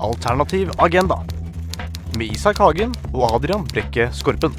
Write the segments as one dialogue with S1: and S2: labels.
S1: Alternativ agenda med Isak Hagen og Adrian Brekke Skorpen.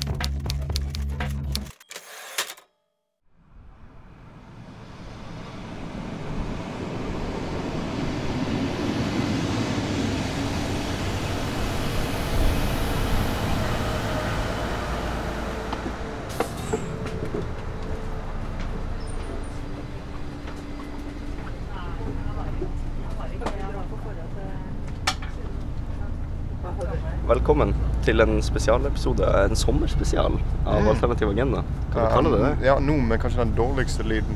S2: Velkommen til en spesialepisode, en sommerspesial av
S3: Mm.
S2: Alternativ agenda. Kan vi
S3: Ja,
S2: kalle det det?
S3: Ja, noe med kanskje den dårligste lyden.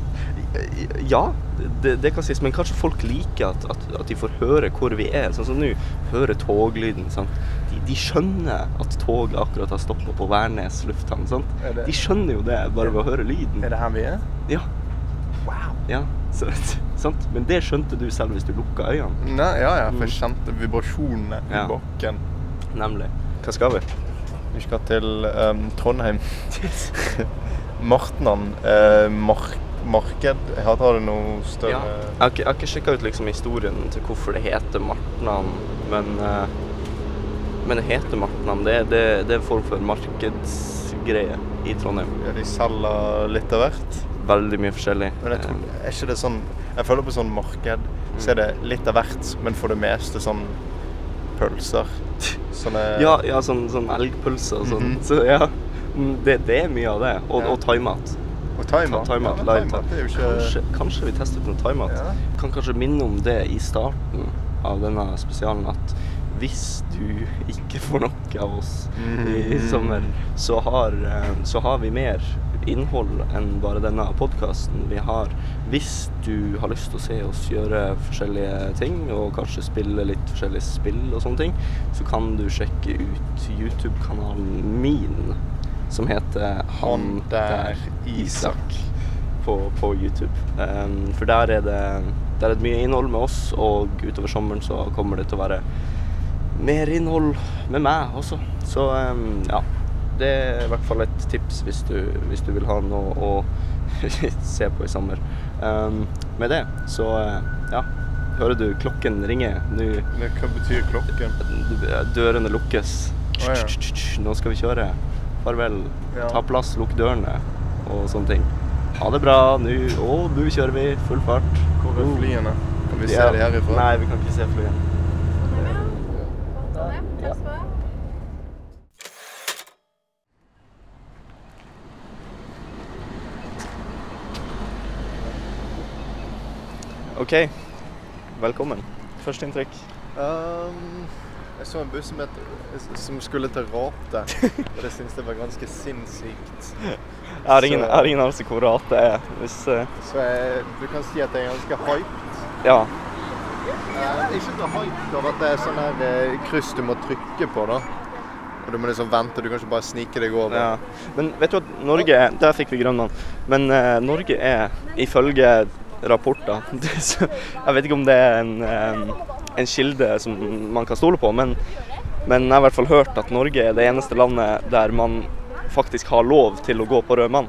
S2: Ja, det, det kan sies, men kanskje folk liker at, at, at de får høre hvor vi er. Sånn som nå, hører toglyden. Sant? De, de skjønner at toget akkurat har stoppa på Værnes lufthavn. Sant?
S3: Er det-
S2: De skjønner jo det bare ved å høre lyden.
S3: Er det her vi er?
S2: Ja,
S3: Wow.
S2: ja, så, sant? Men det skjønte du selv hvis du lukka øynene.
S3: Nei, ja, ja, for
S2: Mm.
S3: jeg kjente vibrasjonene i
S2: Ja.
S3: bakken.
S2: Nemlig. Hva skal vi?
S3: Vi skal til ehm, Trondheim. Martnan eh, mark marked. Her tar det noe
S2: Ja.
S3: større
S2: Jeg har ikke, jeg har ikke sjekka ut liksom historien til hvorfor det heter Martnan, men eh, Men det heter Martnan. Det, det, det er en form for markedsgreie i Trondheim.
S3: Ja, De selger litt av hvert.
S2: Veldig mye forskjellig.
S3: Men jeg tror,
S2: Eh,
S3: er ikke det sånn Jeg føler på sånn marked, så er det
S2: Mm.
S3: litt av hvert, men for det meste sånn pølser. Sånne
S2: Ja, ja sånn, sånn elgpølse og sånn.
S3: Mhm.
S2: Så ja, Mm, det, det er mye av det. Og,
S3: Ja.
S2: og thaimat.
S3: Og thaimat.
S2: Thai mat,
S3: Ja,
S2: live
S3: thaimat er jo ikke
S2: Kanskje, kanskje vi tester ut noe thaimat.
S3: Ja.
S2: Kan kanskje minne om det i starten av denne spesialen at hvis du ikke får nok av oss i
S3: Mhm.
S2: sommer, så har, eh, så har vi mer innhold enn bare denne podkasten. Vi har Hvis du har lyst til å se oss gjøre forskjellige ting, og kanskje spille litt forskjellige spill og sånne ting, så kan du sjekke ut YouTube-kanalen min, som heter Han Mm, der Isak på, på YouTube. Ehm, for der er, det, der er det mye innhold med oss, og utover sommeren så kommer det til å være mer innhold med meg også. Så ehm, ja. Det er i hvert fall et tips hvis du, hvis du vil ha noe å se på i sommer. Ehm, med det så eh, ja. Hører du klokken ringer? Nå
S3: Men Hva betyr klokken?
S2: dørene lukkes.
S3: Å, ja.
S2: Nå skal vi kjøre. Farvel.
S3: Ja.
S2: Ta plass, lukk dørene og sånne ting. Ha det bra nå. Å, nå kjører vi full fart.
S3: Hvor er
S2: Oh.
S3: flyene? Kan vi
S2: De
S3: se
S2: er-
S3: de herifra?
S2: Nei, vi kan ikke se flyet.
S4: Takk skal du ha.
S2: OK. Velkommen. Førsteinntrykk.
S3: Ehm, jeg så en buss som, het, som skulle til Rate, og det syntes jeg var ganske sinnssykt.
S2: Jeg har ingen,
S3: Så-
S2: jeg har ingen anelse hvor rart det er. Hvis eh,
S3: Så jeg, du kan si at jeg er ganske hyped.
S2: Ja.
S3: Eh, ikke så hyped av at det er sånn her eh, kryss du må trykke på, da. Og du må liksom vente, du kan ikke bare snike deg over.
S2: ja. Men vet du at Norge er Der fikk vi grønn mann. Men eh, Norge er ifølge rapporter det som- Jeg vet ikke om det er en, eh, en kilde som man kan stole på, men, men jeg har i hvert fall hørt at Norge er det eneste landet der man faktisk har lov til å gå på rød mann.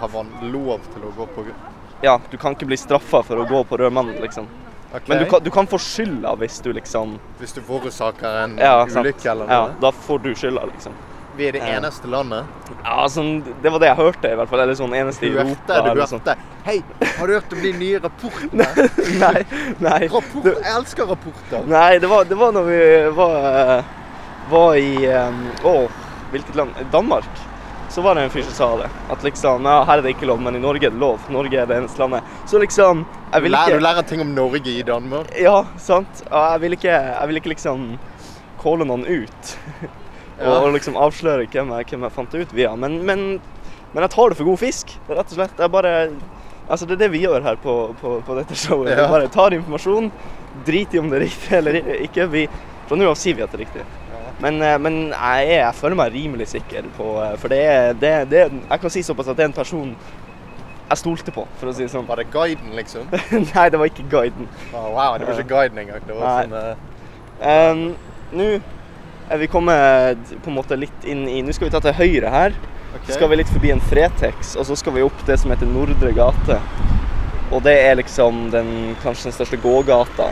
S3: Har man lov til å gå på gr-
S2: Ja, du kan ikke bli straffa for å gå på rød mann, liksom.
S3: Ok.
S2: Men du kan, du kan få skylda hvis du liksom
S3: Hvis du forårsaker en
S2: Ja, sant.
S3: ulykke eller
S2: Ja,
S3: noe.
S2: da får du skylda, liksom.
S3: Vi er det
S2: Ja.
S3: eneste landet.
S2: Ja, sånn, Det var det jeg hørte, i hvert fall. Eller sånn eneste i
S3: Du
S2: Europa.
S3: hørte, du
S2: eller sånn.
S3: hørte. Hei, har du hørt om de nye rapportene?
S2: Nei, nei.
S3: Rapport,
S2: Det-
S3: jeg elsker rapporter.
S2: Nei, det var, det var når vi var, eh, var i um, Å, hvilket land? Danmark. Så var det en fyr som sa det. At liksom ja, Her er det ikke lov, men i Norge er det lov. Norge er det eneste landet. Så liksom Jeg
S3: Du
S2: vil
S3: lærer, du
S2: ikke
S3: lærer ting om Norge i Danmark.
S2: Ja, sant. Ja, Jeg vil ikke, jeg vil ikke liksom calle noen ut. Og,
S3: Ja.
S2: og liksom avsløre hvem jeg, hvem jeg fant det ut via. Men, men, men jeg tar det for god fisk, rett og slett. Jeg bare Altså, det er det vi gjør her på, på, på dette showet.
S3: Ja.
S2: Vi bare tar informasjon, driter i om det er riktig eller ikke. Vi, fra nå av sier vi at det er riktig. Men, eh, men jeg, er, jeg føler meg rimelig sikker på eh, For det er, det, det er Jeg kan si såpass at det er en person jeg stolte på, for å si det sånn.
S3: Var det guiden, liksom?
S2: Nei, det var ikke guiden.
S3: Å, wow, det var ikke guiden engang. Det var
S2: Nei.
S3: sånn eh,
S2: Ehm, Nå er vi kommet på en måte litt inn i Nå skal vi ta til høyre her.
S3: ok.
S2: Så skal vi litt forbi en Fretex, og så skal vi opp det som heter Nordre gate. Og det er liksom den kanskje den største gågata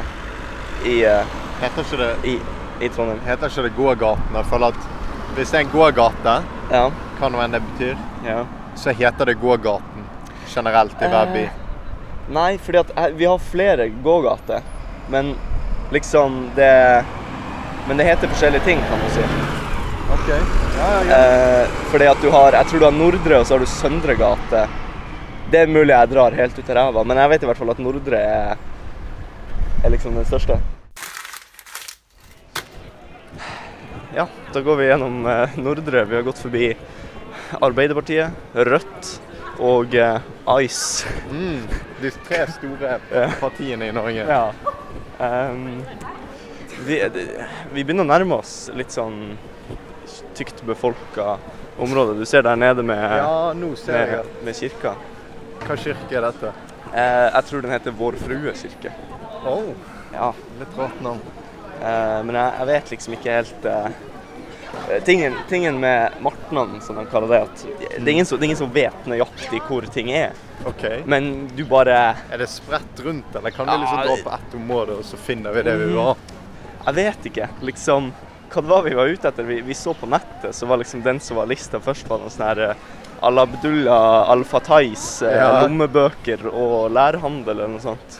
S2: i, eh,
S3: Heter ikke det,
S2: i, i Trondheim.
S3: heter ikke det gågaten? Jeg føler at hvis det er en gågate,
S2: Ja.
S3: hva nå enn det betyr,
S2: ja.
S3: så heter det gågaten generelt i hver by.
S2: Eh, Nei, fordi at her- vi har flere gågater. Men liksom det Men det heter forskjellige ting, kan man si.
S3: Ok. Ja, ja, ja.
S2: Eh, fordi at du har Jeg tror du har Nordre, og så har du Søndre gate. Det er mulig jeg drar helt ut av ræva, men jeg vet i hvert fall at Nordre er, er liksom den største. Ja, da går vi gjennom eh, Nordre. Vi har gått forbi Arbeiderpartiet, Rødt og eh, Ice.
S3: Mm, de tre store
S2: Ja.
S3: partiene i Norge.
S2: Ja. Ehm, vi, det- vi begynner å nærme oss litt sånn tykt befolka område. Du ser der nede med,
S3: Ja, nå ser jeg.
S2: med, med kirka.
S3: Hva kirke er dette?
S2: Eh, jeg tror den heter Vår Frue kirke.
S3: Oh,
S2: Ja.
S3: litt rart navn.
S2: Eh, men jeg, jeg vet liksom ikke helt eh, tingen, tingen med martnan, som de kaller det, at det er ingen som, det er ingen som vet nøyaktig hvor ting er.
S3: Ok.
S2: Men du bare
S3: Er det spredt rundt, eller kan vi
S2: Ja, Mm.
S3: liksom dra
S2: det-
S3: på ett område, og så finner vi det vi vil ha?
S2: Jeg vet ikke, liksom Hva det var vi var ute etter? Vi, vi så på nettet, så var liksom den som var lista først, var noen sånne her eh, Al-Abdullah Al-Fatais eh,
S3: Ja.
S2: lommebøker og lærhandel eller noe sånt.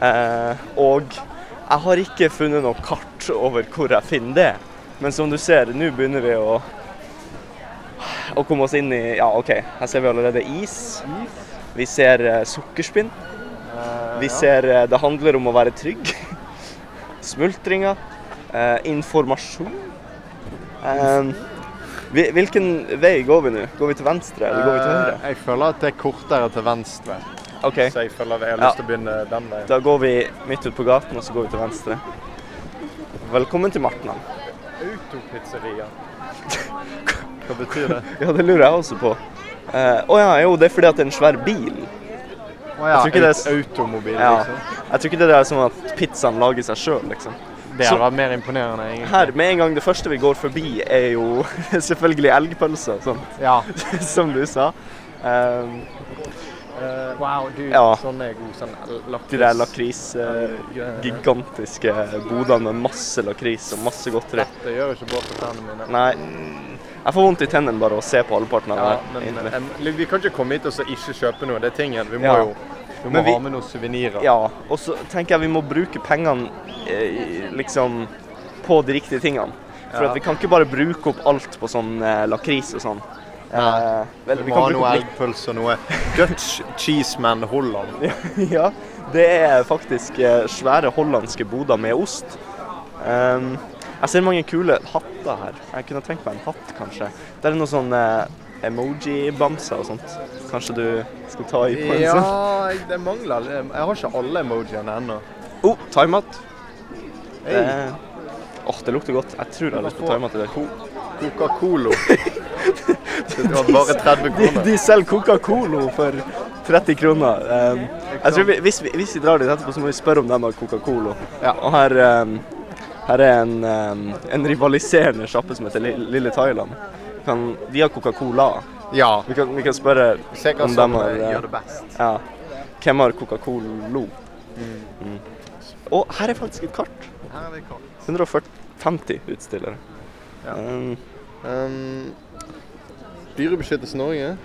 S2: Eh, og jeg har ikke funnet noe kart over hvor jeg finner det. Men som du ser, nå begynner vi å å komme oss inn i Ja, OK, her ser vi allerede is. Vi ser eh, sukkerspinn. Vi ser eh, Det handler om å være trygg. Smultringer. Eh, informasjon. Eh, vi, hvilken vei går vi nå? Går vi til venstre, eller går vi til høyre?
S3: Eh, Jeg føler at det er kortere til venstre,
S2: Eh, OK,
S3: så jeg føler at jeg har
S2: Ja.
S3: lyst til å begynne den veien.
S2: da går vi midt ut på gaten, og så går vi til venstre. Velkommen til Martnan.
S3: Autopizzeria. Hva betyr det?
S2: Ja, det lurer jeg også på. Eh, Å ja, jo, det er fordi at det er en svær bil.
S3: Å ja,
S2: tror ikke det er s-
S3: automobil,
S2: Ja.
S3: liksom.
S2: Jeg tror ikke det er sånn at pizzaen lager seg sjøl, liksom.
S3: Det
S2: Så-
S3: hadde vært mer imponerende, egentlig.
S2: Her, med en gang det første vi går forbi, er jo selvfølgelig elgpølser, sånn,
S3: Ja.
S2: som du sa. Eh,
S3: Eh, wow, du,
S2: Ja.
S3: sånn er god sånn l- lakris.
S2: de der lakris... eh,
S3: Ja, ja.
S2: gigantiske bodene med masse lakris og masse godteri.
S3: Dette gjør jo ikke bra for tennene mine.
S2: Nei, jeg får vondt i tennene bare av å se på halvparten av
S3: Ja,
S2: det.
S3: men
S2: egentlig.
S3: em, vi kan ikke komme hit og så ikke kjøpe noe. Det er tingen. Vi må
S2: Ja.
S3: jo vi må
S2: Men vi-
S3: ha med noen suvenirer.
S2: Ja, og så tenker jeg vi må bruke pengene eh, liksom på de riktige tingene. For
S3: Ja.
S2: at vi kan ikke bare bruke opp alt på sånn eh, lakris og sånn.
S3: Nei.
S2: Eh, vel,
S3: Vi
S2: vi
S3: må ha
S2: kan bruke
S3: noe
S2: opp litt.
S3: elgpølse og noe Dutch Cheeseman Holland.
S2: ja, det er faktisk eh, svære hollandske boder med ost. Ehm, jeg ser mange kule hatter her. Jeg kunne tenkt meg en hatt, kanskje. Det er noen sånne eh, emoji-bamser og sånt. Kanskje du skal ta i på en
S3: Ja,
S2: sånn?
S3: jeg- det mangler Jeg har ikke alle emojiene ennå.
S2: Oh, timeout. Det
S3: Hey.
S2: er- Åh, det lukter godt. Jeg tror jeg har lyst på timeout i dag.
S3: Coca-Cola. Det var bare 30
S2: De,
S3: kroner.
S2: de selger Coca-Cola for 30 kroner. Ehm, jeg tror vi, hvis, vi, hvis vi drar dit etterpå, så må vi spørre om de har Coca-Cola.
S3: Ja.
S2: Og her, ehm, her er en, ehm, en rivaliserende sjappe som heter Li- Lille Thailand. Kan, de har Coca-Cola.
S3: Ja.
S2: Vi kan, vi kan spørre
S3: Se hva
S2: om de
S3: som
S2: har
S3: eh,
S2: eh,
S3: gjør det best.
S2: ja, Hvem har Coca-Cola? Mm. Og her er faktisk et kart.
S3: Her er vi kommet.
S2: 150 utstillere.
S3: Ja.
S2: Ehm,
S3: Um, Dyrebeskyttelse Norge.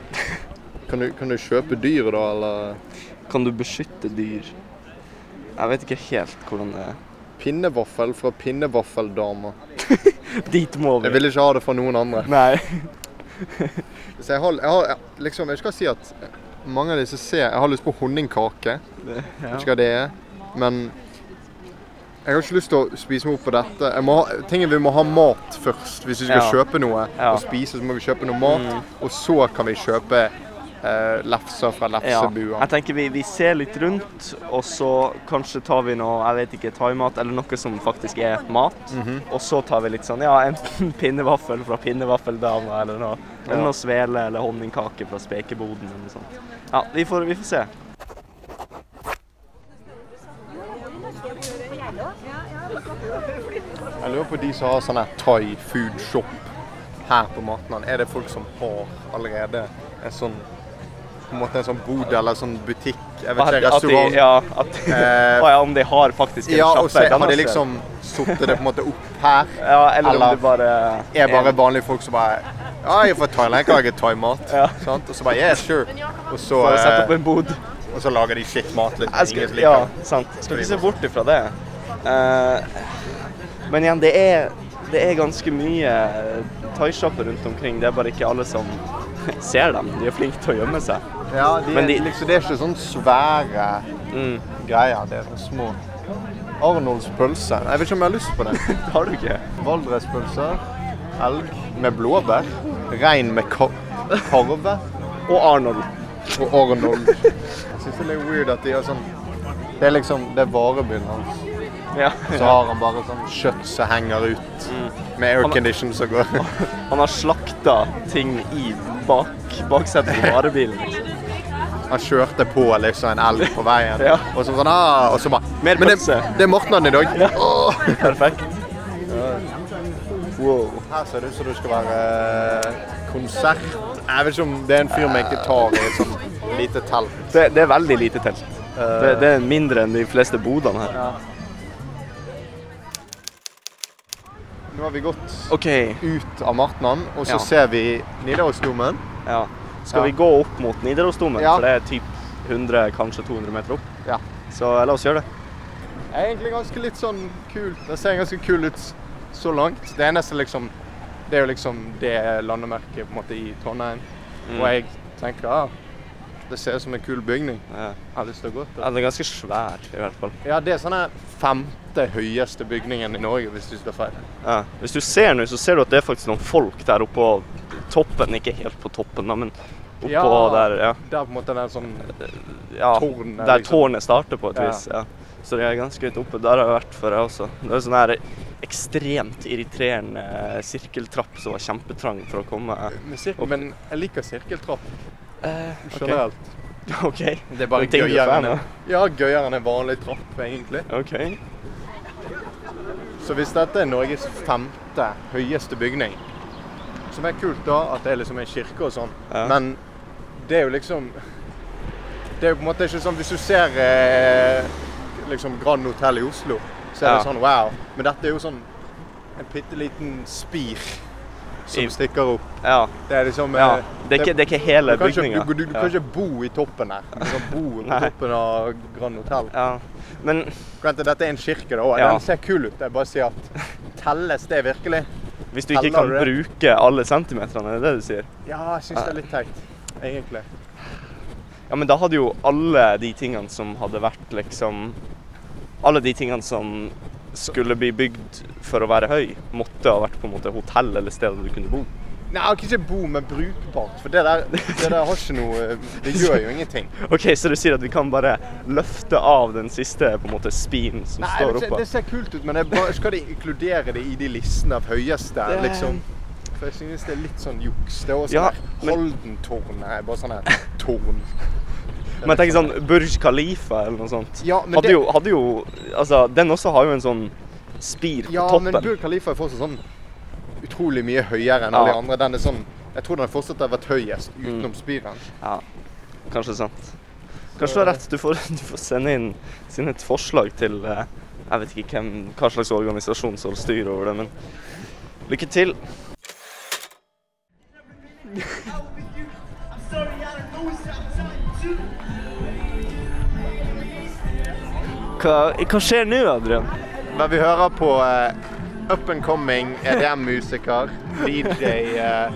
S3: Kan du, kan du kjøpe dyr, da, eller
S2: kan du beskytte dyr? Jeg vet ikke helt hvordan det er.
S3: Pinnevaffel fra pinnevaffeldamer.
S2: Dit må vi.
S3: Jeg vil ikke ha det fra noen andre.
S2: Nei.
S3: Så jeg har, jeg har jeg, liksom, jeg skal si at mange av disse ser Jeg har lyst på honningkake.
S2: Ja.
S3: Vet ikke hva det er. Men jeg har ikke lyst til å spise meg opp på dette. Jeg må ha, tingen, Vi må ha mat først. Hvis vi skal
S2: Ja.
S3: kjøpe noe
S2: Ja. Mm.
S3: og spise, så må vi kjøpe noe mat. Og så kan vi kjøpe eh, lefser fra
S2: Ja.
S3: lefsebua.
S2: Jeg tenker vi, vi ser litt rundt, og så kanskje tar vi noe jeg vet ikke, thaimat eller noe som faktisk er mat.
S3: Mhm.
S2: Og så tar vi litt sånn ja, enten pinnevaffel fra pinnevaffeldama eller noe, eller
S3: Ja.
S2: noe svele eller honningkake fra spekeboden eller noe sånt. Ja, vi får, vi får se.
S3: Jeg lurer på de som har sånn her thai food shop her på Matnan. Er det folk som har allerede en sånn på en måte en sånn bod eller sånn butikk, jeg vet
S2: At,
S3: ikke,
S2: at de,
S3: restaurant.
S2: ja, at,
S3: Eh,
S2: Å ja, om de har faktisk en
S3: Ja, og
S2: sjappe
S3: så
S2: et
S3: har
S2: annet
S3: de
S2: sted.
S3: liksom satt det på en måte opp her.
S2: ja, eller,
S3: eller
S2: om det bare
S3: er bare vanlige folk som bare Ja, jeg er fra Thailand, jeg lager thaimat.
S2: Ja.
S3: Sant? Og så bare Yeah, sure. Og så,
S2: bare sette opp
S3: eh,
S2: en bod.
S3: og så lager de skittmat. Liksom.
S2: Jeg
S3: Ingen som
S2: skulle,
S3: liker
S2: ja,
S3: det.
S2: sant. Skal ikke se bort ifra det. Eh, men igjen, det er, det er ganske mye thaisjapper rundt omkring. Det er bare ikke alle som ser dem. De er flinke til å gjemme seg.
S3: Ja, de,
S2: Men de-
S3: liksom, det er ikke sånn svære
S2: Mm.
S3: greier. Det er sånne små Arnolds pølse. Jeg vet ikke om jeg har lyst på det.
S2: Det har du ikke.
S3: Valdrespølse. Elg med blåbær. Rein med ka karve.
S2: Og Arnold.
S3: Og Arnold. Jeg syns det er litt weird at de har sånn Det er liksom det er varebilen hans.
S2: Ja.
S3: Så har han bare sånn kjøtt som henger ut. Med aircondition som går.
S2: Han har slakta ting i bak, baksetet på varebilen. Liksom.
S3: Han kjørte på liksom en elg på veien.
S2: Ja.
S3: Og så sånn, ah, og så bare
S2: Mer
S3: Men det,
S2: pølse."
S3: det er Mortland i dag. Åh!
S2: Perfekt. Wow.
S3: Her ser det ut som det skal være eh, konsert. Jeg vet ikke om det er en fyr med en gitar i et sånt lite telt. Eh,
S2: Det, det er veldig lite telt. Det, det er mindre enn de fleste bodene her.
S3: Nå har vi gått
S2: OK.
S3: ut av Martnan, og så
S2: Ja.
S3: ser vi Nidarosdomen.
S2: Ja. Skal
S3: Ja.
S2: vi gå opp mot Nidarosdomen?
S3: Ja.
S2: For det er typ 100, kanskje 200 meter opp.
S3: Ja.
S2: Så eh, la oss gjøre det.
S3: Det er egentlig ganske litt sånn kult. Det ser ganske kul ut s- så langt. Det eneste liksom Det er jo liksom det landemerket på en måte i Trondheim. Og jeg tenker ah, det ser ut som en kul bygning.
S2: Ja.
S3: Jeg har lyst til å gå til
S2: Ja, den er ganske svær, i hvert fall.
S3: Ja, det er sånn her femte høyeste bygningen i Norge, hvis du ikke tar feil.
S2: Ja. Hvis du ser nå, så ser du at det er faktisk noen folk der oppe på toppen. Ikke helt på toppen, da, men oppå
S3: Ja.
S2: der. Ja.
S3: Der på en måte den sånn
S2: ja.
S3: Tårnet,
S2: der
S3: liksom.
S2: tårnet starter, på et
S3: Ja.
S2: vis. Ja. Så det er ganske høyt oppe. Der har jeg vært før, jeg også. Det er sånn her ekstremt irriterende eh, sirkeltrapp som var kjempetrang for å komme
S3: med sirkel,
S2: Opp.
S3: Men jeg liker sirkeltrapp
S2: eh,
S3: generelt.
S2: OK.
S3: Det er bare
S2: ting du er
S3: gøyere
S2: fan
S3: enn,
S2: av.
S3: ja, gøyere enn en vanlig trapp, egentlig.
S2: OK.
S3: Så hvis dette er Norges femte høyeste bygning, som er kult da, at det er liksom en kirke og sånn,
S2: Ja.
S3: men det er jo liksom Det er jo på en måte ikke sånn Hvis du ser eh, liksom Grand Hotel i Oslo, så er
S2: Ja.
S3: det sånn wow. Men dette er jo sånn en bitte liten spir som
S2: I-
S3: stikker opp.
S2: Ja.
S3: Det er liksom
S2: ja.
S3: eh,
S2: Det, er ikke, det er ikke hele
S3: du kan ikke,
S2: bygninga.
S3: du, du, du kan ikke bo i toppen her. Du kan bo på
S2: Nei.
S3: toppen av Grand Hotel.
S2: ja. Men
S3: Vent, dette er en kirke, da. og
S2: Ja.
S3: Den ser kul ut. Jeg bare sier at Telles det virkelig?
S2: hvis du ikke
S3: Teller
S2: kan
S3: du det?
S2: bruke alle centimeterne, er det det du sier?
S3: Ja, jeg syns det er litt teit, egentlig.
S2: Ja, men da hadde jo alle de tingene som hadde vært liksom Alle de tingene som skulle bli bygd for å være høy, måtte ha vært på en måte hotell eller steder du kunne bo.
S3: Nei, jeg kan ikke bo, men brukbart. For det der, det der har ikke noe Det gjør jo ingenting.
S2: OK, så du sier at vi kan bare løfte av den siste på en måte spinen som
S3: Nei,
S2: står
S3: det, ser,
S2: oppå?
S3: det ser kult ut, men det er bare, skal de inkludere det i de listene av høyeste,
S2: Det er-
S3: liksom? For jeg synes det er litt sånn juks. Det er også
S2: Ja,
S3: sånn her
S2: men-
S3: Holden-tårn. Nei, bare sånn her tårn.
S2: Men jeg tenker sånn Burj Khalifa eller noe sånt.
S3: Ja, men
S2: hadde,
S3: det-
S2: jo, hadde jo Altså, den også har jo en sånn spir på
S3: Ja,
S2: toppen.
S3: men Burj Khalifa er fortsatt sånn utrolig mye høyere enn
S2: Ja.
S3: alle de andre. Den er sånn Jeg tror den fortsatt har vært høyest utenom spiren.
S2: Ja, kanskje sant. Kanskje du har rett. Du får, du får sende, inn, sende et forslag til eh, Jeg vet ikke hvem, hva slags organisasjon som styrer over det, men lykke til. Hva, hva skjer nå, Adrian?
S3: Men vi hører på eh, up and coming E EDM-musiker, DJ eh,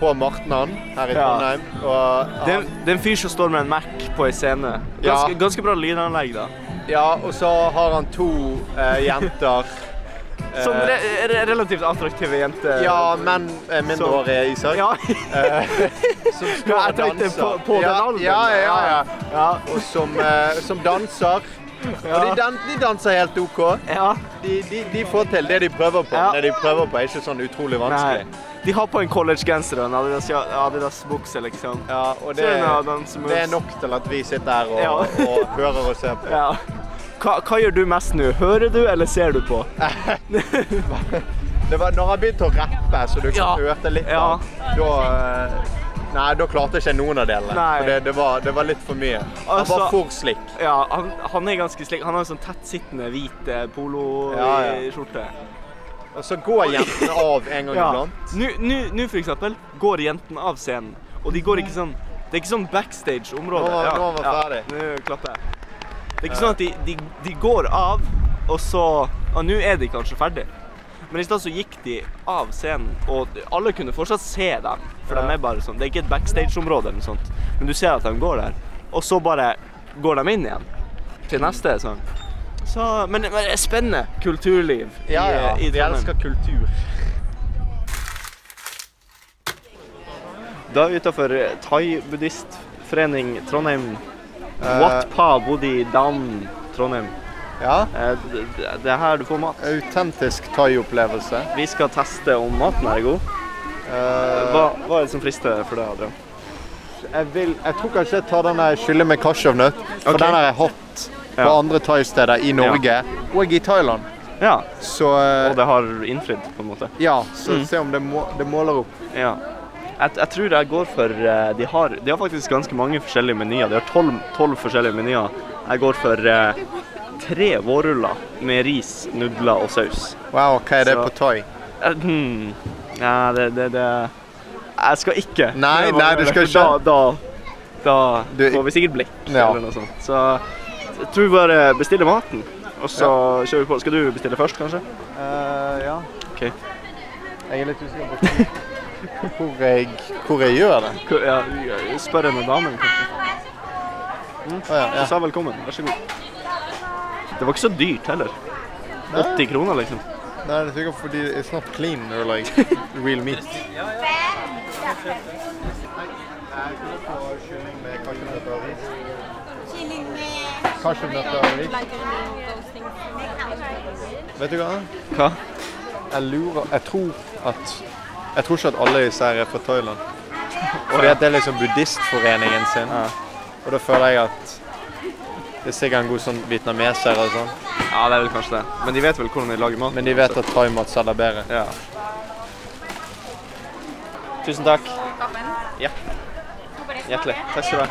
S3: på Martnan her i
S2: Ja.
S3: Trondheim. Og,
S2: Det, er- det er en fyr som står med en Mac på ei scene.
S3: Ja.
S2: Ganske, ganske bra lydanlegg, da.
S3: ja, og så har han to eh, jenter. eh,
S2: Sånn re re relativt attraktive jenter.
S3: ja, menn eh, mindreårige, Isak. Eh,
S2: Ja.
S3: Som står
S2: Ja, jeg
S3: og
S2: tenkte
S3: danser.
S2: på- på den
S3: ja,
S2: alderen.
S3: Ja, ja, ja. ja og som, eh, som danser. Og de, dan de danser helt OK.
S2: ja.
S3: De, de, de får til det de prøver på.
S2: Ja.
S3: Det de prøver på er ikke sånn utrolig vanskelig.
S2: Nei. De har på en collegegenser og en Adidas- Adidas-bukse, liksom.
S3: Ja, og det,
S2: Så er det en av dem som er-
S3: det er nok til at vi sitter her og,
S2: Ja.
S3: og hører og ser på.
S2: Ja. Hva, hva gjør du mest nå? Hører du, eller ser du på?
S3: Det var når jeg begynte å rappe, så du
S2: Ja.
S3: hørte litt
S2: Ja.
S3: av da eh, Nei, da klarte jeg ikke noen av delene.
S2: Nei.
S3: For det, det, var, det var litt for mye. Han
S2: Altså-
S3: var for slik.
S2: Ja, han, han er ganske slik. Han har en sånn tettsittende hvit eh,
S3: Ja, ja.
S2: poloskjorte.
S3: Og så går jentene av en gang iblant.
S2: Nå, nå- nå for eksempel går jentene av scenen, og de går ikke sånn Det er ikke sånn backstage-område.
S3: Nå var- nå var ferdig.
S2: Nå klapper jeg. Det er ikke sånn at de, de, de går av, og så Ja, nå er de kanskje ferdig. Men i stad så gikk de av scenen, og alle kunne fortsatt se dem. For de er bare sånn Det er ikke et backstage-område eller noe sånt, men du ser at de går der. Og så bare går de inn igjen til neste sånn. Så, men, men det er spennende kulturliv
S3: Ja, ja.
S2: i, i
S3: De
S2: Trondheim.
S3: elsker kultur.
S2: Da er vi eh, utafor thai-buddhistforening Trondheim. Wat pa bodi dan Trondheim.
S3: Ja.
S2: Eh, d- d- Det er her du får mat.
S3: Autentisk thai-opplevelse.
S2: Vi skal teste om maten her er god.
S3: Eh,
S2: Hva, hva er det som frister for deg, Adrian?
S3: jeg, vil, jeg tror kanskje jeg tar den der chili med cashewnøtt, for
S2: Ok.
S3: den har jeg hatt på
S2: Ja.
S3: andre thaisteder i Norge og i Thailand.
S2: Ja,
S3: Så eh,
S2: Og det har innfridd, på en måte.
S3: ja, så se om det, må, det måler opp.
S2: Ja. Jeg, jeg tror jeg går for eh, de har, de har faktisk ganske mange forskjellige menyer. De har tolv, tolv forskjellige menyer. Jeg går for eh, tre vårruller med ris, nudler og saus.
S3: Wow, hva er det
S2: Så-
S3: på thai?
S2: Eh, Hmm. Ja, det, det, det Jeg skal ikke.
S3: Nei,
S2: Det var-
S3: nei, du
S2: Da,
S3: skal ikke.
S2: da, da
S3: Du-
S2: får vi sikkert blikk
S3: Ja.
S2: eller noe sånt. Så jeg tror vi bare bestiller maten, og så kjører vi på. Skal du bestille først, kanskje?
S3: ja.
S2: Ok.
S3: Jeg er litt usikker på hvor- hvor jeg, hvor jeg gjør det.
S2: K- Ja, spør en dame, kanskje.
S3: Å ja,
S2: Og
S3: ja.
S2: sa velkommen. Vær så god. Det var ikke så dyrt heller. 80 kroner, liksom.
S3: Nei, det er sikkert fordi it's not clean or like real meat. Cashewnøtter og ris. Vet du hva?
S2: Hva?
S3: Jeg lurer Jeg tror at Jeg tror ikke at alle disse her er fra Thailand. Fordi at det er liksom buddhistforeningen sin. Og da føler jeg at det er sikkert en god sånn vietnameser og sånn.
S2: Ja, det er vel kanskje det. Men de vet vel hvordan de lager mat.
S3: Men de vet at thaimat selger bedre.
S2: Ja. Tusen takk. Ja. Hjertelig. Takk skal du ha.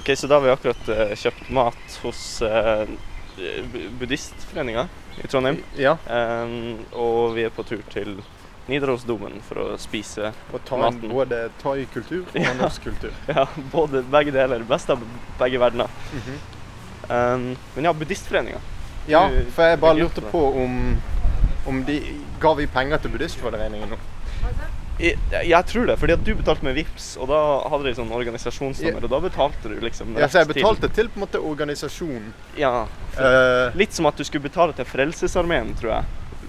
S2: Ok, så da har vi akkurat eh, kjøpt mat hos eh, bu- buddhistforeninga i Trondheim.
S3: Ja.
S2: Em, og vi er på tur til Nidarosdomen for å spise
S3: Og ta inn
S2: Maten.
S3: både thai-kultur og norsk kultur.
S2: ja, både begge deler. Best av begge verdener. Em, men ja, buddhistforeninga.
S3: Ja, for jeg bare
S2: Det er
S3: lurte
S2: gutt,
S3: på om, om de Ga vi penger til buddhistforeningen nå?
S2: Jeg, jeg tror det, fordi at du betalte med VIPS, og da hadde de sånn organisasjonsnummer, og da betalte du liksom
S3: Ja, så jeg
S2: rett til-
S3: betalte til på en måte organisasjonen.
S2: Ja,
S3: Eh,
S2: Litt som at du skulle betale til Frelsesarmeen, tror jeg.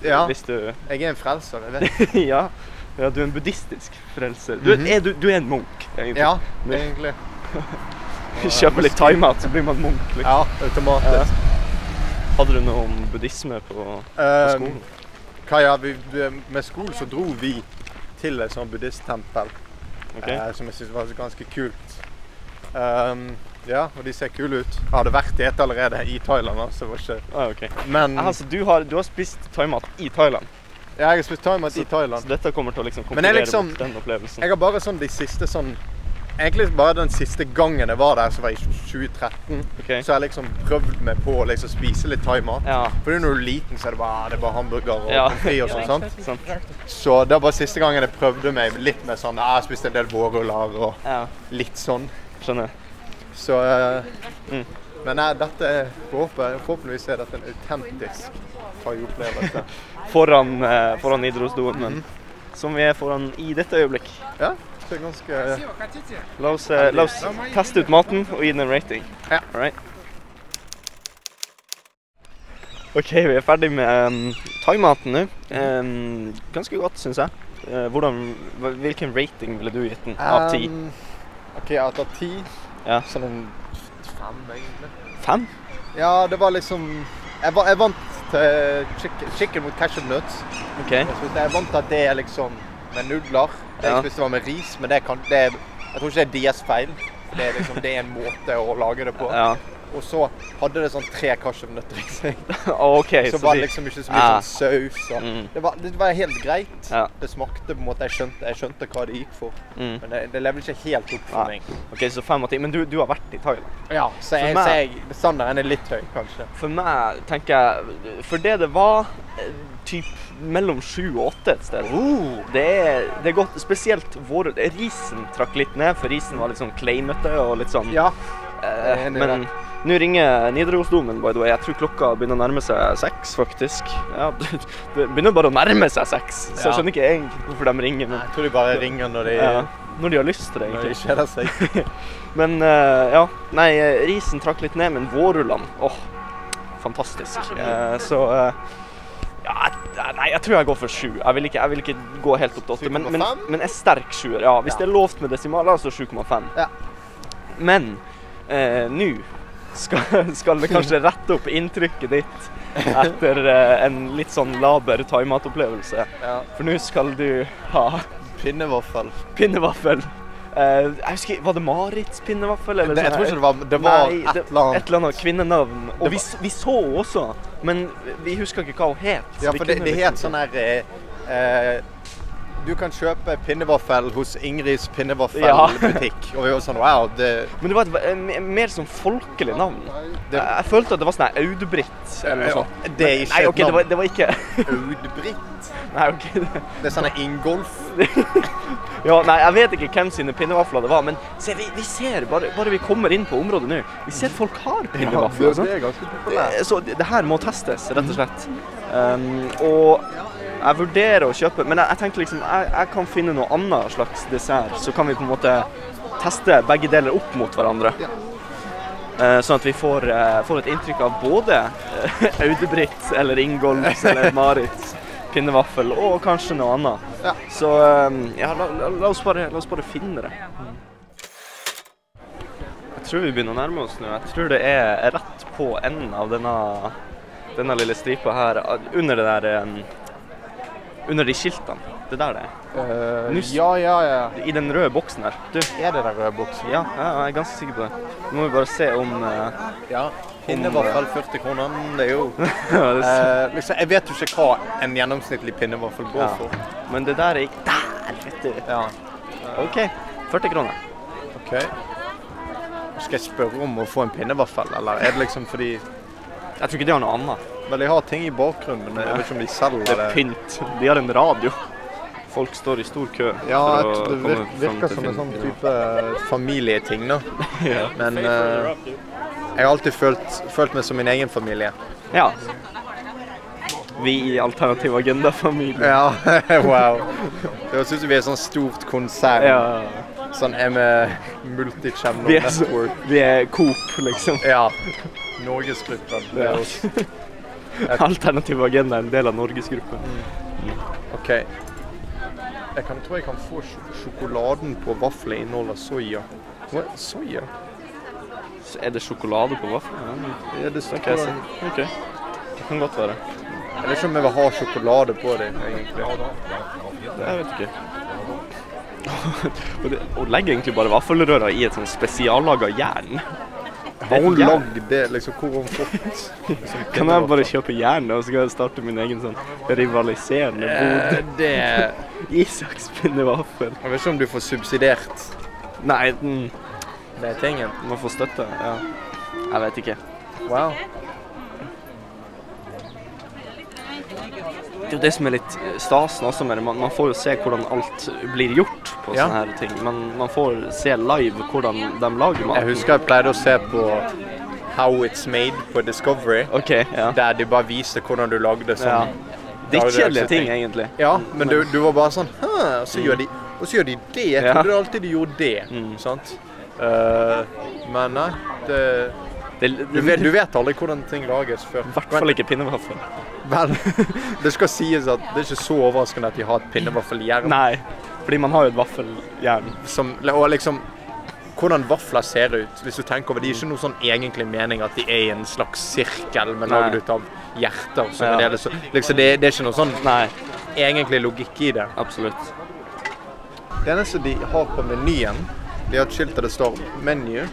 S3: ja,
S2: Hvis du
S3: jeg er en frelser, jeg vet.
S2: ja. ja, du er en buddhistisk frelser. Du,
S3: Mhm.
S2: er, du, du er en munk, egentlig.
S3: Ja, egentlig.
S2: Kjøper litt time-out, så blir man munk. Liksom.
S3: Ja, automatisk.
S2: Hadde du noe om buddhisme på, på
S3: Eh,
S2: skolen?
S3: hva ja, vi, vi- med skolen så dro vi til et sånt buddhisttempel
S2: Ok.
S3: eh, som jeg syntes var ganske kult. Ehm, ja, og de ser kule ut. Jeg hadde vært i et allerede i Thailand, da, så det var ikke
S2: Ah, ok.
S3: Men
S2: Ah, så du har, du har spist time-out i Thailand,
S3: jeg har spist thaimat i Thailand.
S2: så dette kommer til å liksom
S3: Men jeg
S2: konkurrere
S3: liksom-
S2: mot den opplevelsen.
S3: Jeg har bare sånn de siste sånn Egentlig bare den siste gangen jeg var der, som var i 2013,
S2: Ok.
S3: så har jeg liksom prøvd meg på å liksom spise litt thaimat.
S2: Ja,
S3: Fordi når du er liten, så er det bare, ah, det er bare hamburger og
S2: Ja.
S3: pommes frites og sånn. sant?
S2: sant.
S3: Så det var bare siste gangen jeg prøvde meg litt med sånn ah, Jeg spiste en del vårruller og
S2: Ja,
S3: litt sånn.
S2: skjønner.
S3: Så eh,
S2: Mm.
S3: Men nei, dette er forhåpentlig, forhåpentligvis er dette en autentisk thai-opplevelse.
S2: Foran, eh, foran Nidarosdomen, som vi er foran i dette øyeblikk.
S3: ja, det er ganske
S2: La oss, eh, la oss teste ut maten og gi den en rating.
S3: Ja.
S2: Alright. OK, vi er ferdig med um, thaimaten nå. Em, ganske godt, syns jeg. Eh, hvordan, hva- hvilken rating ville du gitt den av ti?
S3: Um, OK, jeg tar ti.
S2: Ja.
S3: Sånn en fem, egentlig.
S2: Fem?
S3: Ja, det var liksom Jeg, var, jeg vant til chicken, chicken with cashew nuts.
S2: OK.
S3: Jeg, spiste, jeg vant til at det er liksom med nudler. Det jeg
S2: Eh? Ja.
S3: spiste var med ris, men det kan det, er- Jeg tror ikke det er deres feil. For For det er liksom det er en måte å lage det på.
S2: Ja.
S3: Og så hadde det sånn tre kasjevnøtter i seg.
S2: OK,
S3: Så
S2: så,
S3: var
S2: de-
S3: det liksom ikke så mye
S2: Ja.
S3: sånn saus. Og
S2: Mm.
S3: det, var, det var helt greit.
S2: Ja.
S3: Det smakte på en måte Jeg skjønte, jeg skjønte hva det gikk for.
S2: Mm.
S3: Men det, det levde ikke helt opp
S2: Nei.
S3: for meg.
S2: OK, så fem av ti. Men du, du har vært i Thailand?
S3: Ja, så jeg,
S2: meg-
S3: så jeg, standarden er litt høy, kanskje.
S2: For meg, tenker jeg For det det var, eh, typ mellom sju og åtte et sted.
S3: Oh.
S2: Det er, det er godt, spesielt vår Risen trakk litt ned, for risen var litt sånn kleimete og litt sånn
S3: Ja.
S2: eh,
S3: jeg er enig i
S2: Men nå ringer Nidarosdomen, by the way. Jeg tror klokka begynner å nærme seg seks, faktisk. Ja, det begynner bare å nærme seg seks, så jeg
S3: Ja.
S2: skjønner ikke egentlig hvorfor de ringer. Men,
S3: Jeg tror de bare ringer når de,
S2: ja, når de har lyst til det,
S3: når de
S2: egentlig.
S3: kjeder seg.
S2: Men eh, ja, nei, eh, risen trakk litt ned, men vårrullene, åh, fantastisk. Eh, så eh, ja, jeg- nei, jeg tror jeg går for sju. Jeg vil ikke, jeg vil ikke gå helt opp til åtte, men, men,
S3: 7,5?
S2: men en sterk sjuer. Ja, hvis
S3: Ja.
S2: det er lovt med desimaler, så 7,5.
S3: Ja.
S2: Men eh, nå skal, skal det kanskje rette opp inntrykket ditt etter eh, en litt sånn laber thaimatopplevelse.
S3: Ja.
S2: For nå skal du ha
S3: Pinnevaffel.
S2: pinnevaffel. Eh, jeg husker, Var det Marits pinnevaffel? Eller
S3: Det, jeg
S2: sånn her?
S3: tror ikke det var Det var
S2: Nei,
S3: et
S2: det-
S3: eller annet.
S2: Et eller annet kvinnenavn. Og
S3: Det
S2: vi, s- vi så henne også, men vi husker ikke hva hun het. så
S3: Ja,
S2: vi
S3: for det,
S2: kunne
S3: det
S2: liksom
S3: het
S2: ikke-
S3: sånn her eh, eh, Du kan kjøpe pinnevaffel hos Ingrids
S2: Ja.
S3: pinnevaffelbutikk. Og vi var sånn Wow, det
S2: Men det var et ve- en- en mer sånn folkelig navn.
S3: Det-
S2: jeg jeg følte at det var sånn her Audbritt eller noe
S3: Ja,
S2: sånt.
S3: det er ikke
S2: Nei,
S3: et
S2: ok, det var,
S3: navn.
S2: det var ikke
S3: Audbritt.
S2: Nei, ok. Det,
S3: Det er sånn her Ingolf.
S2: ja, nei, jeg vet ikke hvem sine pinnevafler det var, men se, vi, vi ser, bare, bare vi kommer inn på området nå, vi ser folk har pinnevafler. sant?
S3: er ganske populært.
S2: Eh, Så det det her må testes, rett og slett. Um, og jeg vurderer å kjøpe, men jeg, jeg tenker liksom jeg, jeg kan finne noe annet slags dessert. Så kan vi på en måte teste begge deler opp mot hverandre. Eh, sånn at vi får, eh, får et inntrykk av både eh, Audebritt eller Ingolfs eller Marits pinnevaffel, og kanskje noe annet.
S3: Ja.
S2: Så um, ja, la, la, la, oss bare, la oss bare finne det. Jeg tror vi begynner å nærme oss nå. Jeg tror det er rett på enden av denne, denne lille stripa her, ad- under det der em, Under de skiltene. Det der det er. Nuss.
S3: Eh, ja, ja, ja.
S2: I den røde boksen her. Du,
S3: Er det den røde buksen?
S2: ja, ja, jeg er ganske sikker på det. Nå må vi bare se om eh,
S3: Ja. Pinnevaffel 40 kroner. mm, Det er jo
S2: det-
S3: Eh, liksom, Jeg vet jo ikke hva en gjennomsnittlig pinnevaffel går
S2: ja.
S3: for.
S2: Men det der er ikke Der, vet du.
S3: Ja.
S2: OK. 40 kroner.
S3: OK. Skal jeg spørre om å få en pinnevaffel, eller er det liksom fordi
S2: Jeg tror ikke de har noe annet.
S3: Vel, de har ting i bakgrunnen, men jeg vet ikke om de selger
S2: Det er pynt. De har en radio. Folk står i stor kø.
S3: Ja,
S2: for
S3: jeg
S2: å
S3: tror det
S2: komme
S3: vir-
S2: fram
S3: virker
S2: til
S3: som en sånn
S2: Finn.
S3: type familieting, da.
S2: Ja.
S3: Men eh, jeg har alltid følt, følt meg som min egen familie.
S2: Ja. Vi i Alternativ Agenda-familien.
S3: Ja, wow. Det høres ut som vi er et sånt stort konsern.
S2: Ja.
S3: Sånn er vi multichannel
S2: Vi er, så-
S3: network.
S2: vi er Coop, liksom.
S3: Ja. Norgesgruppen. Det er oss.
S2: Alternativ Agenda er en del av Norgesgruppen.
S3: OK. Jeg kan, tror jeg kan få sj sjokoladen på vaflene inneholder soya. Hva? Soya?
S2: Så Er det sjokolade på vaffelen?
S3: Er det
S2: Ja, ok,
S3: sjokolade?
S2: så- OK. Det kan godt være.
S3: Jeg vet ikke om jeg vil ha sjokolade på det, egentlig.
S2: Jeg vet ikke. Og det- Hun legger egentlig bare vaffelrøra i et sånn spesiallaga jern.
S3: Har hun
S2: Ja.
S3: lagd det? Liksom, hvor har hun fått
S2: Kan jeg bare kjøpe jern, og så kan jeg starte min egen sånn rivaliserende bod?
S3: Eh, det
S2: Isaks pinnevaffel.
S3: Jeg vet ikke om du får subsidiert
S2: Nei, den
S3: det er tingen.
S2: må få støtte. Ja. Jeg vet ikke.
S3: Wow.
S2: Det er jo det som er litt stasen også med det. Man, man får jo se hvordan alt blir gjort på
S3: Ja.
S2: sånne her ting. Man, man får se live hvordan de lager
S3: Jeg
S2: maten.
S3: husker jeg pleide å se på How It's Made på Discovery.
S2: OK, ja.
S3: Der de bare viste hvordan du lagde
S2: ja.
S3: sånn.
S2: Drittkjedelige ting, egentlig.
S3: Ja, men du, du var bare sånn Hæ, og så gjør de, og så gjør de det. Jeg
S2: Ja. Mm.
S3: trodde alltid de gjorde det. Sant? Eh, men nei, det,
S2: Det,
S3: du, vet, du vet aldri hvordan ting lages før.
S2: Mm. I hvert fall ikke pinnevaffel.
S3: Vel, det skal sies at det er ikke så overraskende at de har et pinnevaffeljern.
S2: Nei, fordi man har jo et vaffeljern.
S3: som, og liksom hvordan vafler ser ut. Hvis du tenker over, Det er ikke noe sånn egentlig mening at de er i en slags sirkel, men
S2: Nei.
S3: laget ut av hjerter. Så
S2: Ja.
S3: det, er liksom, liksom det, det er ikke noe sånn
S2: Nei,
S3: egentlig logikk i det.
S2: absolutt.
S3: Det eneste de har på menyen, De har et skilt der det står 'menu',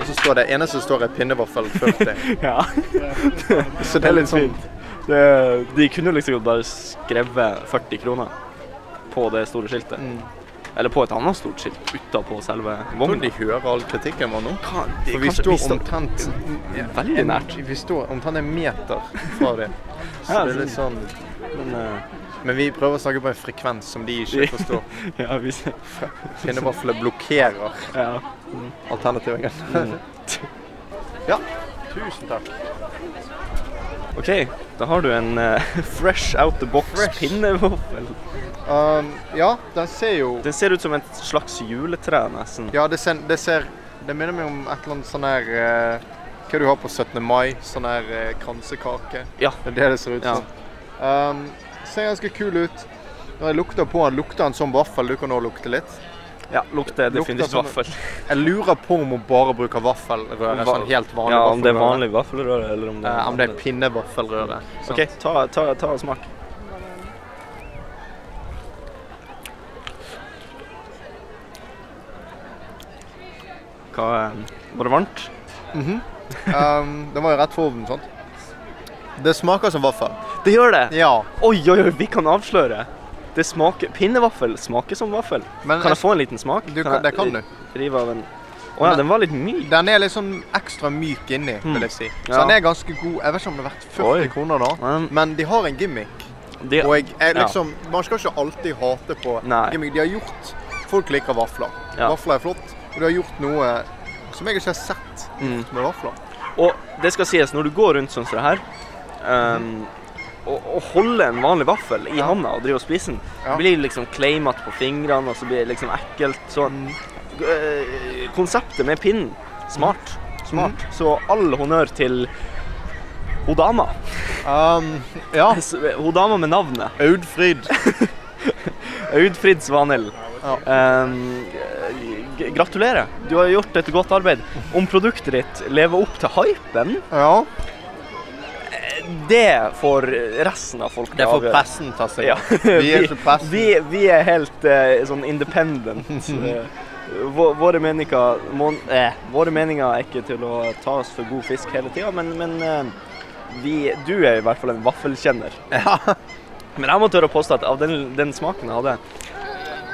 S3: og så står det eneste som står, er pinnevaffel 40.
S2: Ja.
S3: Så
S2: Det er litt fint. Det, de kunne liksom godt bare skrevet 40 kroner på det store skiltet.
S3: Mm.
S2: Eller på et annet stort skilt utapå selve
S3: Jeg tror
S2: vogna.
S3: de hører all kritikken vår nå.
S2: Hva- de-
S3: For vi
S2: kanskje-
S3: står
S2: sta-
S3: omtrent
S2: Ja, veldig
S3: en-
S2: nært.
S3: Vi står omtrent en meter fra dem. Så
S2: Ja,
S3: det er litt sånn
S2: Men, eh,
S3: Men vi prøver å snakke på en frekvens som de ikke forstår.
S2: ja, vi ser.
S3: Pinnevafler blokkerer
S2: Ja.
S3: alternativet.
S2: Mm.
S3: Ja. Tusen takk.
S2: OK, da har du en eh, fresh out the box
S3: Fresh.
S2: pinnevaffel.
S3: Um, ja, den ser jo
S2: Den ser ut som et slags juletre, nesten.
S3: Ja, det ser, det ser Det minner meg om et eller annet sånn her eh, Hva du har på 17. mai? Sånn her eh, kransekake.
S2: Ja.
S3: Det er det det ser ut
S2: Ja.
S3: som. Um, ser ganske kul ut. Når jeg lukter på den, lukter den som vaffel. Du kan nå lukte litt.
S2: Ja, lukter definitivt
S3: sånn-
S2: vaffel.
S3: Jeg lurer på om hun bare bruker vaffelrøre.
S2: Va-
S3: Sånn helt vanlig
S2: Ja, om det er
S3: vaffelrøre.
S2: vanlig vaffelrøre, eller om det
S3: Eh, om det er pinnevaffelrøre.
S2: OK, ta, ta, ta og smak. Hva eh, Var det varmt?
S3: Mhm. um, den var jo rett for ovnen, sant? Det smaker som vaffel.
S2: Det gjør det!
S3: Ja.
S2: Oi, oi, oi, vi kan avsløre. Det smaker Pinnevaffel smaker som vaffel.
S3: Men eh,
S2: Kan jeg få en liten smak?
S3: du, kan, det kan du.
S2: Rive av en Å ja, den var litt myk.
S3: Den er litt sånn ekstra myk inni, vil jeg si. Så
S2: Hmm. Ja.
S3: den er ganske god. Jeg vet ikke om det er verdt 40
S2: Oi.
S3: kroner da,
S2: Men
S3: men de har en gimmick.
S2: det,
S3: Og jeg, jeg
S2: Ja.
S3: liksom, man skal ikke alltid hate på
S2: Nei.
S3: gimmick. De har gjort Folk liker vafler.
S2: Ja.
S3: Vafler er flott. Og de har gjort noe som jeg ikke har sett
S2: Mm.
S3: med vafler.
S2: Og det skal sies, når du går rundt sånn som det her ehm, og, og holder en vanlig vaffel i handa og driver og spiser den,
S3: Ja.
S2: blir liksom kleimete på fingrene, og så blir det liksom ekkelt. Så
S3: Mm.
S2: eh, konseptet med pinnen smart. Smart.
S3: Mm.
S2: Så all honnør til hun dama. Ehm,
S3: Um, ja.
S2: S- Hun dama eh, med navnet.
S3: Audfrid.
S2: Audfrid Svanhild.
S3: Ja.
S2: Ehm, g- gratulerer. Du har gjort et godt arbeid. Om produktet ditt lever opp til hypen,
S3: Ja.
S2: det får resten av folk
S3: Det får
S2: avgjøre.
S3: pressen ta seg
S2: Ja.
S3: av. Vi er ikke pressen.
S2: Vi, vi er helt eh, sånn independent. Eh, vå- våre, meninger, mon, eh, våre meninger er ikke til å ta oss for god fisk hele tida, men, men eh, vi, du er i hvert fall en vaffelkjenner. Men jeg må tørre å påstå at av den, den smaken jeg hadde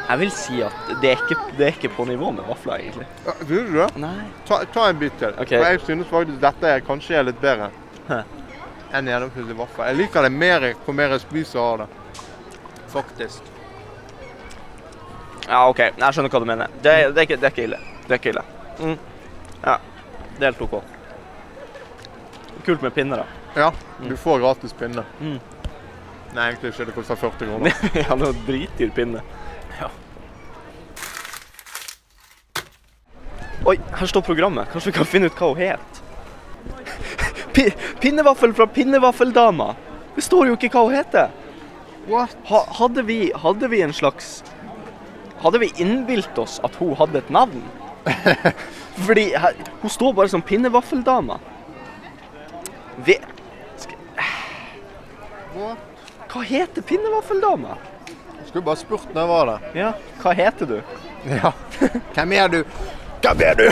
S2: Jeg vil si at det er ikke, det er ikke på nivå med vafler, egentlig.
S3: Ja, Synes du det?
S2: Nei.
S3: Ta, ta en bit til.
S2: Ok.
S3: For jeg synes faktisk dette er kanskje er litt bedre
S2: Hæ.
S3: enn gjennomsnittlig vaffel. Jeg liker det mer hvor mer jeg spiser av det. Faktisk.
S2: Ja, OK. Jeg skjønner hva du mener. Det, er- det, er, ikke, det er ikke ille. Det er ikke ille. Mm. Ja. Det er helt OK. Kult med pinner, da.
S3: Ja, du får gratis pinne.
S2: Mm.
S3: Nei, egentlig ikke. Det koster 40 kroner.
S2: Han har dritdyr pinne. Oi, her står programmet. Kanskje vi kan finne ut hva hun het? Pi pinnevaffel fra Pinnevaffeldama. Det står jo ikke hva hun heter.
S3: What?
S2: Ha hadde, vi, hadde vi en slags Hadde vi innbilt oss at hun hadde et navn? Fordi her, hun står bare som Pinnevaffeldama. Vi Sk-
S3: What?
S2: Hva heter Pinnevaffeldama?
S3: Skulle bare spurt når jeg var der.
S2: Ja, hva heter du?
S3: Ja. Hvem er du? Hvem er du?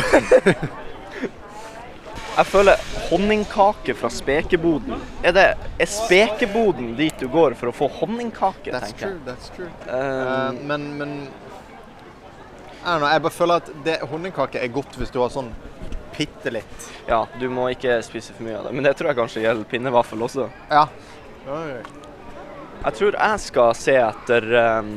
S2: Jeg føler honningkake fra spekeboden. Er det er spekeboden dit du går for å få honningkake,
S3: That's
S2: tenker jeg?
S3: true, that's true. Eh,
S2: Um,
S3: men, men I don't know, Jeg bare føler at det, honningkake er godt hvis du har sånn bitte litt.
S2: ja, du må ikke spise for mye av det. Men det tror jeg kanskje gjelder pinnevaffel også.
S3: Ja.
S2: Jeg tror jeg skal se etter um,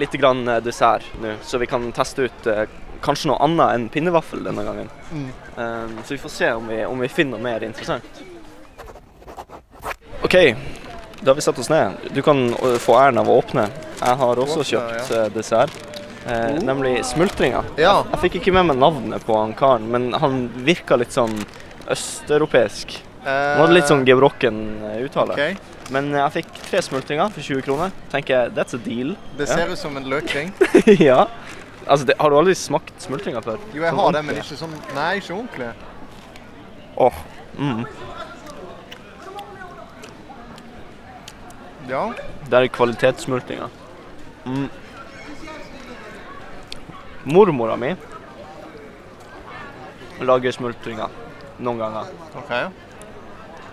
S2: litt grann eh, dessert nå, så vi kan teste ut eh, kanskje noe annet enn pinnevaffel denne gangen.
S3: Mm.
S2: Um, så vi får se om vi, om vi finner noe mer interessant. OK, da har vi satt oss ned. Du kan eh, få æren av å åpne. Jeg har også
S3: Åpne, Oh.
S2: kjøpt eh, dessert, eh, nemlig smultringer.
S3: ja.
S2: Jeg fikk ikke med meg navnet på han karen, men han virka litt sånn østeuropeisk. Han hadde litt sånn gebrokken eh, uttale.
S3: Ok.
S2: Men eh, jeg fikk tre smultringer for 20 kroner. Tenker jeg, that's a deal.
S3: Det
S2: Ja.
S3: ser ut som en løkring.
S2: ja. Altså, det, har du aldri smakt smultringer før?
S3: Jo, jeg
S2: Sånn
S3: har det, men
S2: ordentlig?
S3: ikke sånn Nei, ikke ordentlig.
S2: Åh. Mm.
S3: Ja.
S2: Det er kvalitetssmultringer. Mm. Mormora mi Lager smultringer noen ganger.
S3: OK.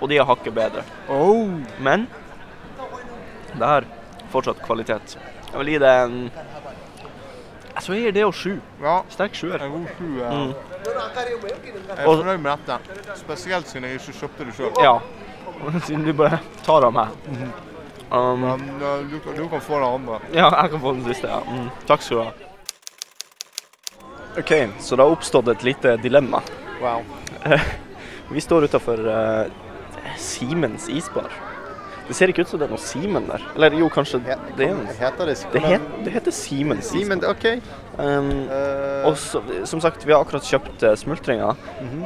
S2: Og de er hakket bedre.
S3: Oh.
S2: Men det her fortsatt kvalitet. Jeg vil gi det en Jeg tror jeg gir det og sju.
S3: Ja.
S2: Sterk sjuer.
S3: En god sju. Ja.
S2: Mm.
S3: Jeg er fornøyd med dette. Spesielt siden jeg ikke kjøpte det sjøl.
S2: Ja. Siden du bare tar av meg. Um,
S3: Men eh, du, kan- du kan få det andre.
S2: Ja, jeg kan få den siste. ja. Mm. Takk skal du ha. OK, så det har oppstått et lite dilemma.
S3: Wow.
S2: Vi står utafor Simens isbar. Det ser ikke ut som det er noe Simen der. Eller jo, kanskje det er noe.
S3: Heter det
S2: Det, het, det heter Simens
S3: Simen, OK.
S2: isbar. Um,
S3: Eh,
S2: og så, som sagt, vi har akkurat kjøpt eh, smultringer.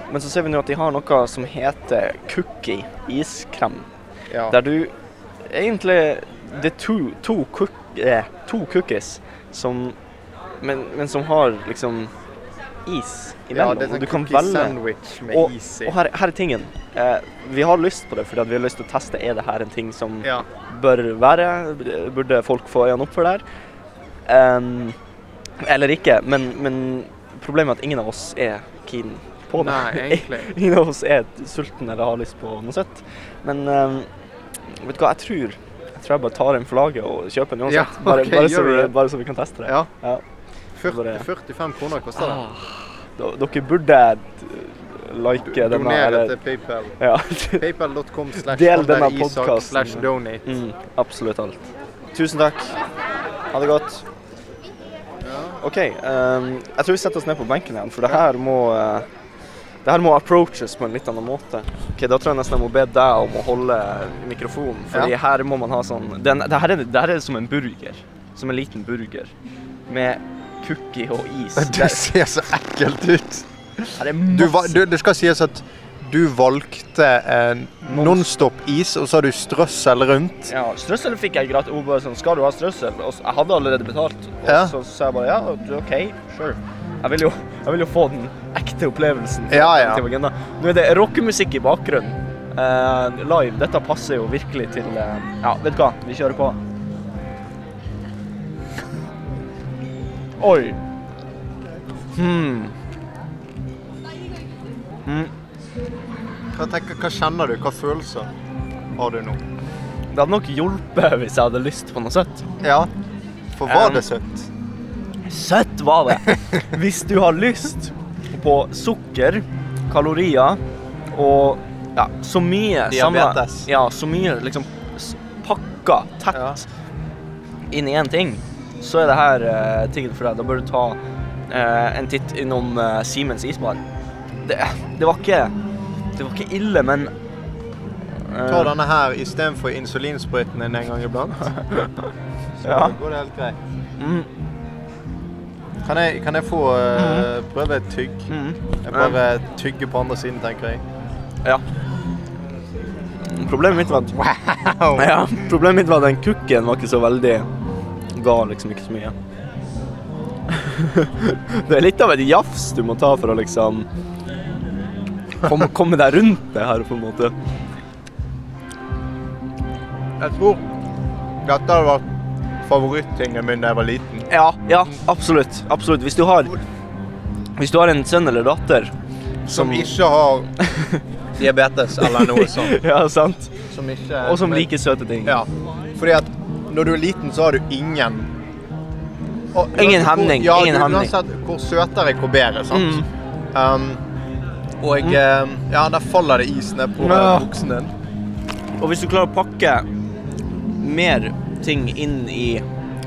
S2: Men så ser vi nå at de har noe som heter cookie iskrem.
S3: ja.
S2: Der du egentlig Det er to, to, cook, eh, to cookies som men, men som har liksom is
S3: ja,
S2: imellom.
S3: det er
S2: og
S3: sånn
S2: du kan
S3: cookie
S2: velge.
S3: sandwich med
S2: Og,
S3: is i.
S2: og her, her er tingen. Eh, vi har lyst på det fordi at vi har lyst til å teste er det her en ting som
S3: Ja.
S2: bør være. Burde folk få øynene opp for det her? Em, eller ikke. Men, men problemet er at ingen av oss er keen på det.
S3: Nei, egentlig.
S2: Ingen av oss er sulten eller har lyst på noe søtt. Men eh, vet du hva, jeg tror Jeg tror jeg bare tar en flagge og kjøper den uansett.
S3: Ja,
S2: bare,
S3: ok,
S2: bare, så
S3: gjør
S2: vi,
S3: du det.
S2: bare så vi kan teste det.
S3: Ja.
S2: Ja.
S3: 40, 45 kroner koster det.
S2: Ah, d- dere burde eh, like denne.
S3: Donere
S2: Eller,
S3: til PayPal.
S2: ja.
S3: Paypal.com slash
S2: Del denne
S3: Sander Isak
S2: podcasten.
S3: slash donate.
S2: mm, absolutt alt. Tusen takk. Ha det godt. OK. eh, jeg tror vi setter oss ned på benken igjen, for det her må eh, det her må approaches på en litt annen måte. Ok, Da tror jeg nesten jeg må be deg om å holde mikrofonen. Fordi
S3: Ja.
S2: her må man ha sånn den, det, her er, det her er som en burger. Som en liten burger. Med cookie og is. Det,
S3: Det ser så ekkelt ut.
S2: her er masse
S3: Du, va- du, det skal sies at du valgte en Nonstop-is, og så har du strøssel rundt.
S2: Ja, strøssel fikk jeg gratis. Hun bare sånn, skal du ha strøssel? Og så, jeg hadde allerede betalt. Og
S3: Ja.
S2: så sa jeg bare, ja, du, ok, sure. Jeg vil, jo, jeg vil jo få den ekte opplevelsen. fra
S3: Ja, ja.
S2: Alternativ Agenda. Nå er det rockemusikk i bakgrunnen. eh, live, dette passer jo virkelig til, eh, ja, vet du hva, vi kjører på. Oi. Hmm. Hmm.
S3: Hva, tenker, hva kjenner du? Hva følelser har du nå?
S2: Det hadde nok hjulpet hvis jeg hadde lyst på noe søtt.
S3: Ja, for
S2: var det
S3: søtt?
S2: Søtt var det. Hvis du har lyst på sukker, kalorier og ja, så mye
S3: Diabetes.
S2: ja, så mye liksom s- pakka tett
S3: Ja.
S2: inn i én ting, så er det her eh, tingen for deg. Da bør du ta eh, en titt innom eh, Simens isbar. Det, det var ikke Det var ikke ille, men eh,
S3: Ta denne her istedenfor insulinsprøyten din en gang iblant. Så
S2: Ja.
S3: går det helt greit.
S2: mm,
S3: Kan jeg, kan jeg få eh, prøve et tygg?
S2: mm,
S3: Jeg bare tygger på andre siden, tenker jeg.
S2: Ja. Problemet mitt var at
S3: Wow!
S2: Ja, problemet mitt var at den kukken var ikke så veldig Ga liksom ikke så mye. det er litt av et jafs du må ta for å liksom komme, komme deg rundt det her, på en måte.
S3: Jeg tror dette hadde vært favorittingen min da jeg var liten.
S2: Ja, ja, absolutt. Absolutt. Hvis du har Hvis du har en sønn eller datter
S3: Som ikke har diabetes eller noe sånt.
S2: Ja, sant.
S3: Som ikke
S2: Og som liker søte ting.
S3: Ja. Fordi at når du er liten, så har du ingen Og uansett
S2: Ingen
S3: hvor-
S2: hemning,
S3: Ja,
S2: ingen
S3: du-
S2: hemning.
S3: Uansett hvor søtere, hvor bedre. sant?
S2: Mm.
S3: Um, og eh, ja, der faller det is ned på
S2: Ja.
S3: eh, buksen din.
S2: Og hvis du klarer å pakke mer ting inn i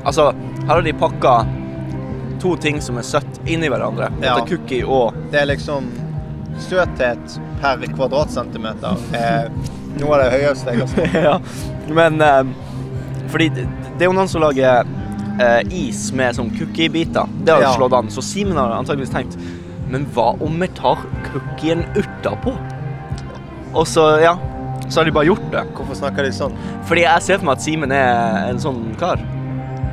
S2: Altså, her har de pakka to ting som er søtt, inn i hverandre.
S3: Ja.
S2: Dette cookie og
S3: Det er liksom Søthet per kvadratcentimeter er noe av det høyeste jeg har sett.
S2: ja. Men eh, Fordi det, det er jo noen som lager eh, is med sånn cookie-biter. Det har jo
S3: Ja.
S2: slått an, så Simen har antakeligvis tenkt Men hva om vi tar cookien utapå? Og så, ja Så har de bare gjort det.
S3: Hvorfor snakker de sånn
S2: Fordi jeg ser for meg at Simen er en sånn kar.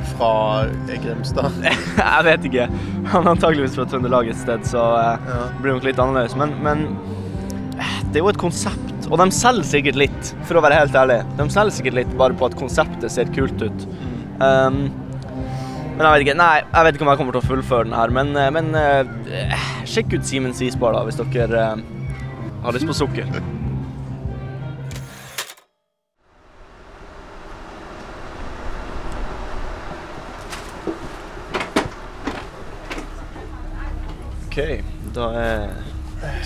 S3: fra Grimstad?
S2: jeg vet ikke. Han er antageligvis fra Trøndelag et sted, så eh,
S3: Ja.
S2: det blir nok litt annerledes. Men, men eh, det er jo et konsept, og de selger sikkert litt, for å være helt ærlig. De selger sikkert litt bare på at konseptet ser kult ut. Um, Men jeg vet ikke, nei, jeg vet ikke om jeg kommer til å fullføre den her, men, eh, men eh, sjekk ut Simens isbar da, hvis dere eh, har lyst på sukker. Ok, da er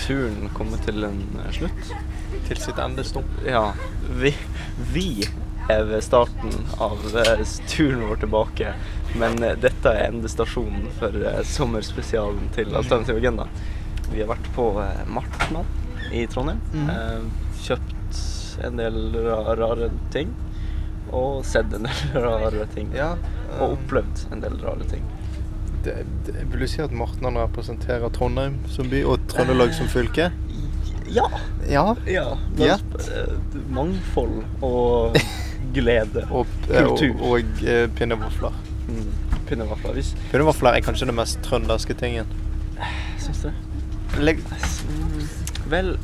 S2: turen kommet til en eh, slutt.
S3: Til sitt endestump.
S2: Ja, vi, vi er ved starten av eh, s- turen vår tilbake, men eh, dette er endestasjonen for eh, sommerspesialen
S3: Mhm.
S2: til Alternativ Agenda. Vi har vært på eh, Martmann i Trondheim,
S3: Mhm.
S2: eh, kjøpt en del ra rare ting, og sett en del rare ting,
S3: Ja,
S2: og
S3: eh,
S2: opplevd en del rare ting.
S3: Det, det, vil du si at Martnan representerer Trondheim som by, og Trøndelag som fylke?
S2: Ja!
S3: Eh. Ja.
S2: Ja.
S3: Ja.
S2: blant, eh, Mangfold og glede.
S3: Og, eh, og,
S2: Kultur.
S3: og eh, pinnevafler.
S2: Mm, Pinnevafler. Hvis
S3: Pinnevafler er kanskje den mest trønderske tingen.
S2: Syns du det?
S3: Legg,
S2: Mm, Vel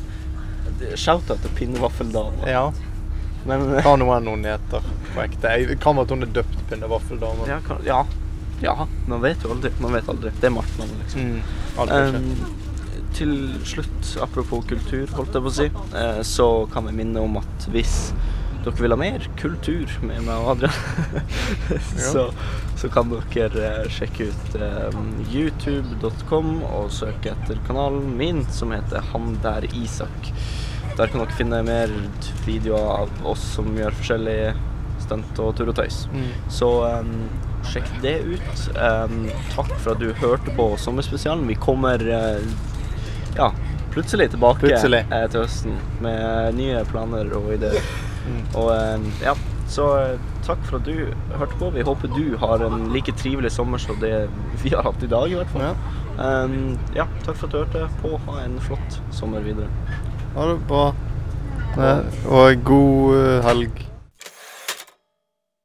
S2: det- Shout-out til pinnevaffeldama.
S3: ja.
S2: Men eh,
S3: Har noen noen heter på ekte. Jeg kan være at hun er døpt pinnevaffeldame.
S2: ja, kan- ja. ja. Man vet jo aldri. Man vet aldri. Det er Martmann, liksom.
S3: Mm. Aldri skjedd.
S2: Ehm, til slutt, apropos kultur, holdt jeg på å si, eh, så kan vi minne om at hvis dere vil ha mer kultur med meg og Adrian, så, så kan dere eh, sjekke ut eh, youtube.com og søke etter kanalen min som heter Han der Isak. Der kan dere finne mer videoer av oss som gjør forskjellige stunt og tur og tøys.
S3: Mm.
S2: Så em, sjekk det ut. Em, takk for at du hørte på Sommerspesialen. Vi kommer eh, ja, plutselig tilbake
S3: Plutselig.
S2: eh, til høsten med nye planer og ideer.
S3: Mm.
S2: Og em, ja, så eh, takk for at du hørte på. Vi håper du har en like trivelig sommer som det vi har hatt i dag, i hvert fall.
S3: Ja.
S2: Em, ja, takk for at du hørte på. Ha en flott sommer videre.
S3: Ha det bra. Eh, Og god eh, helg.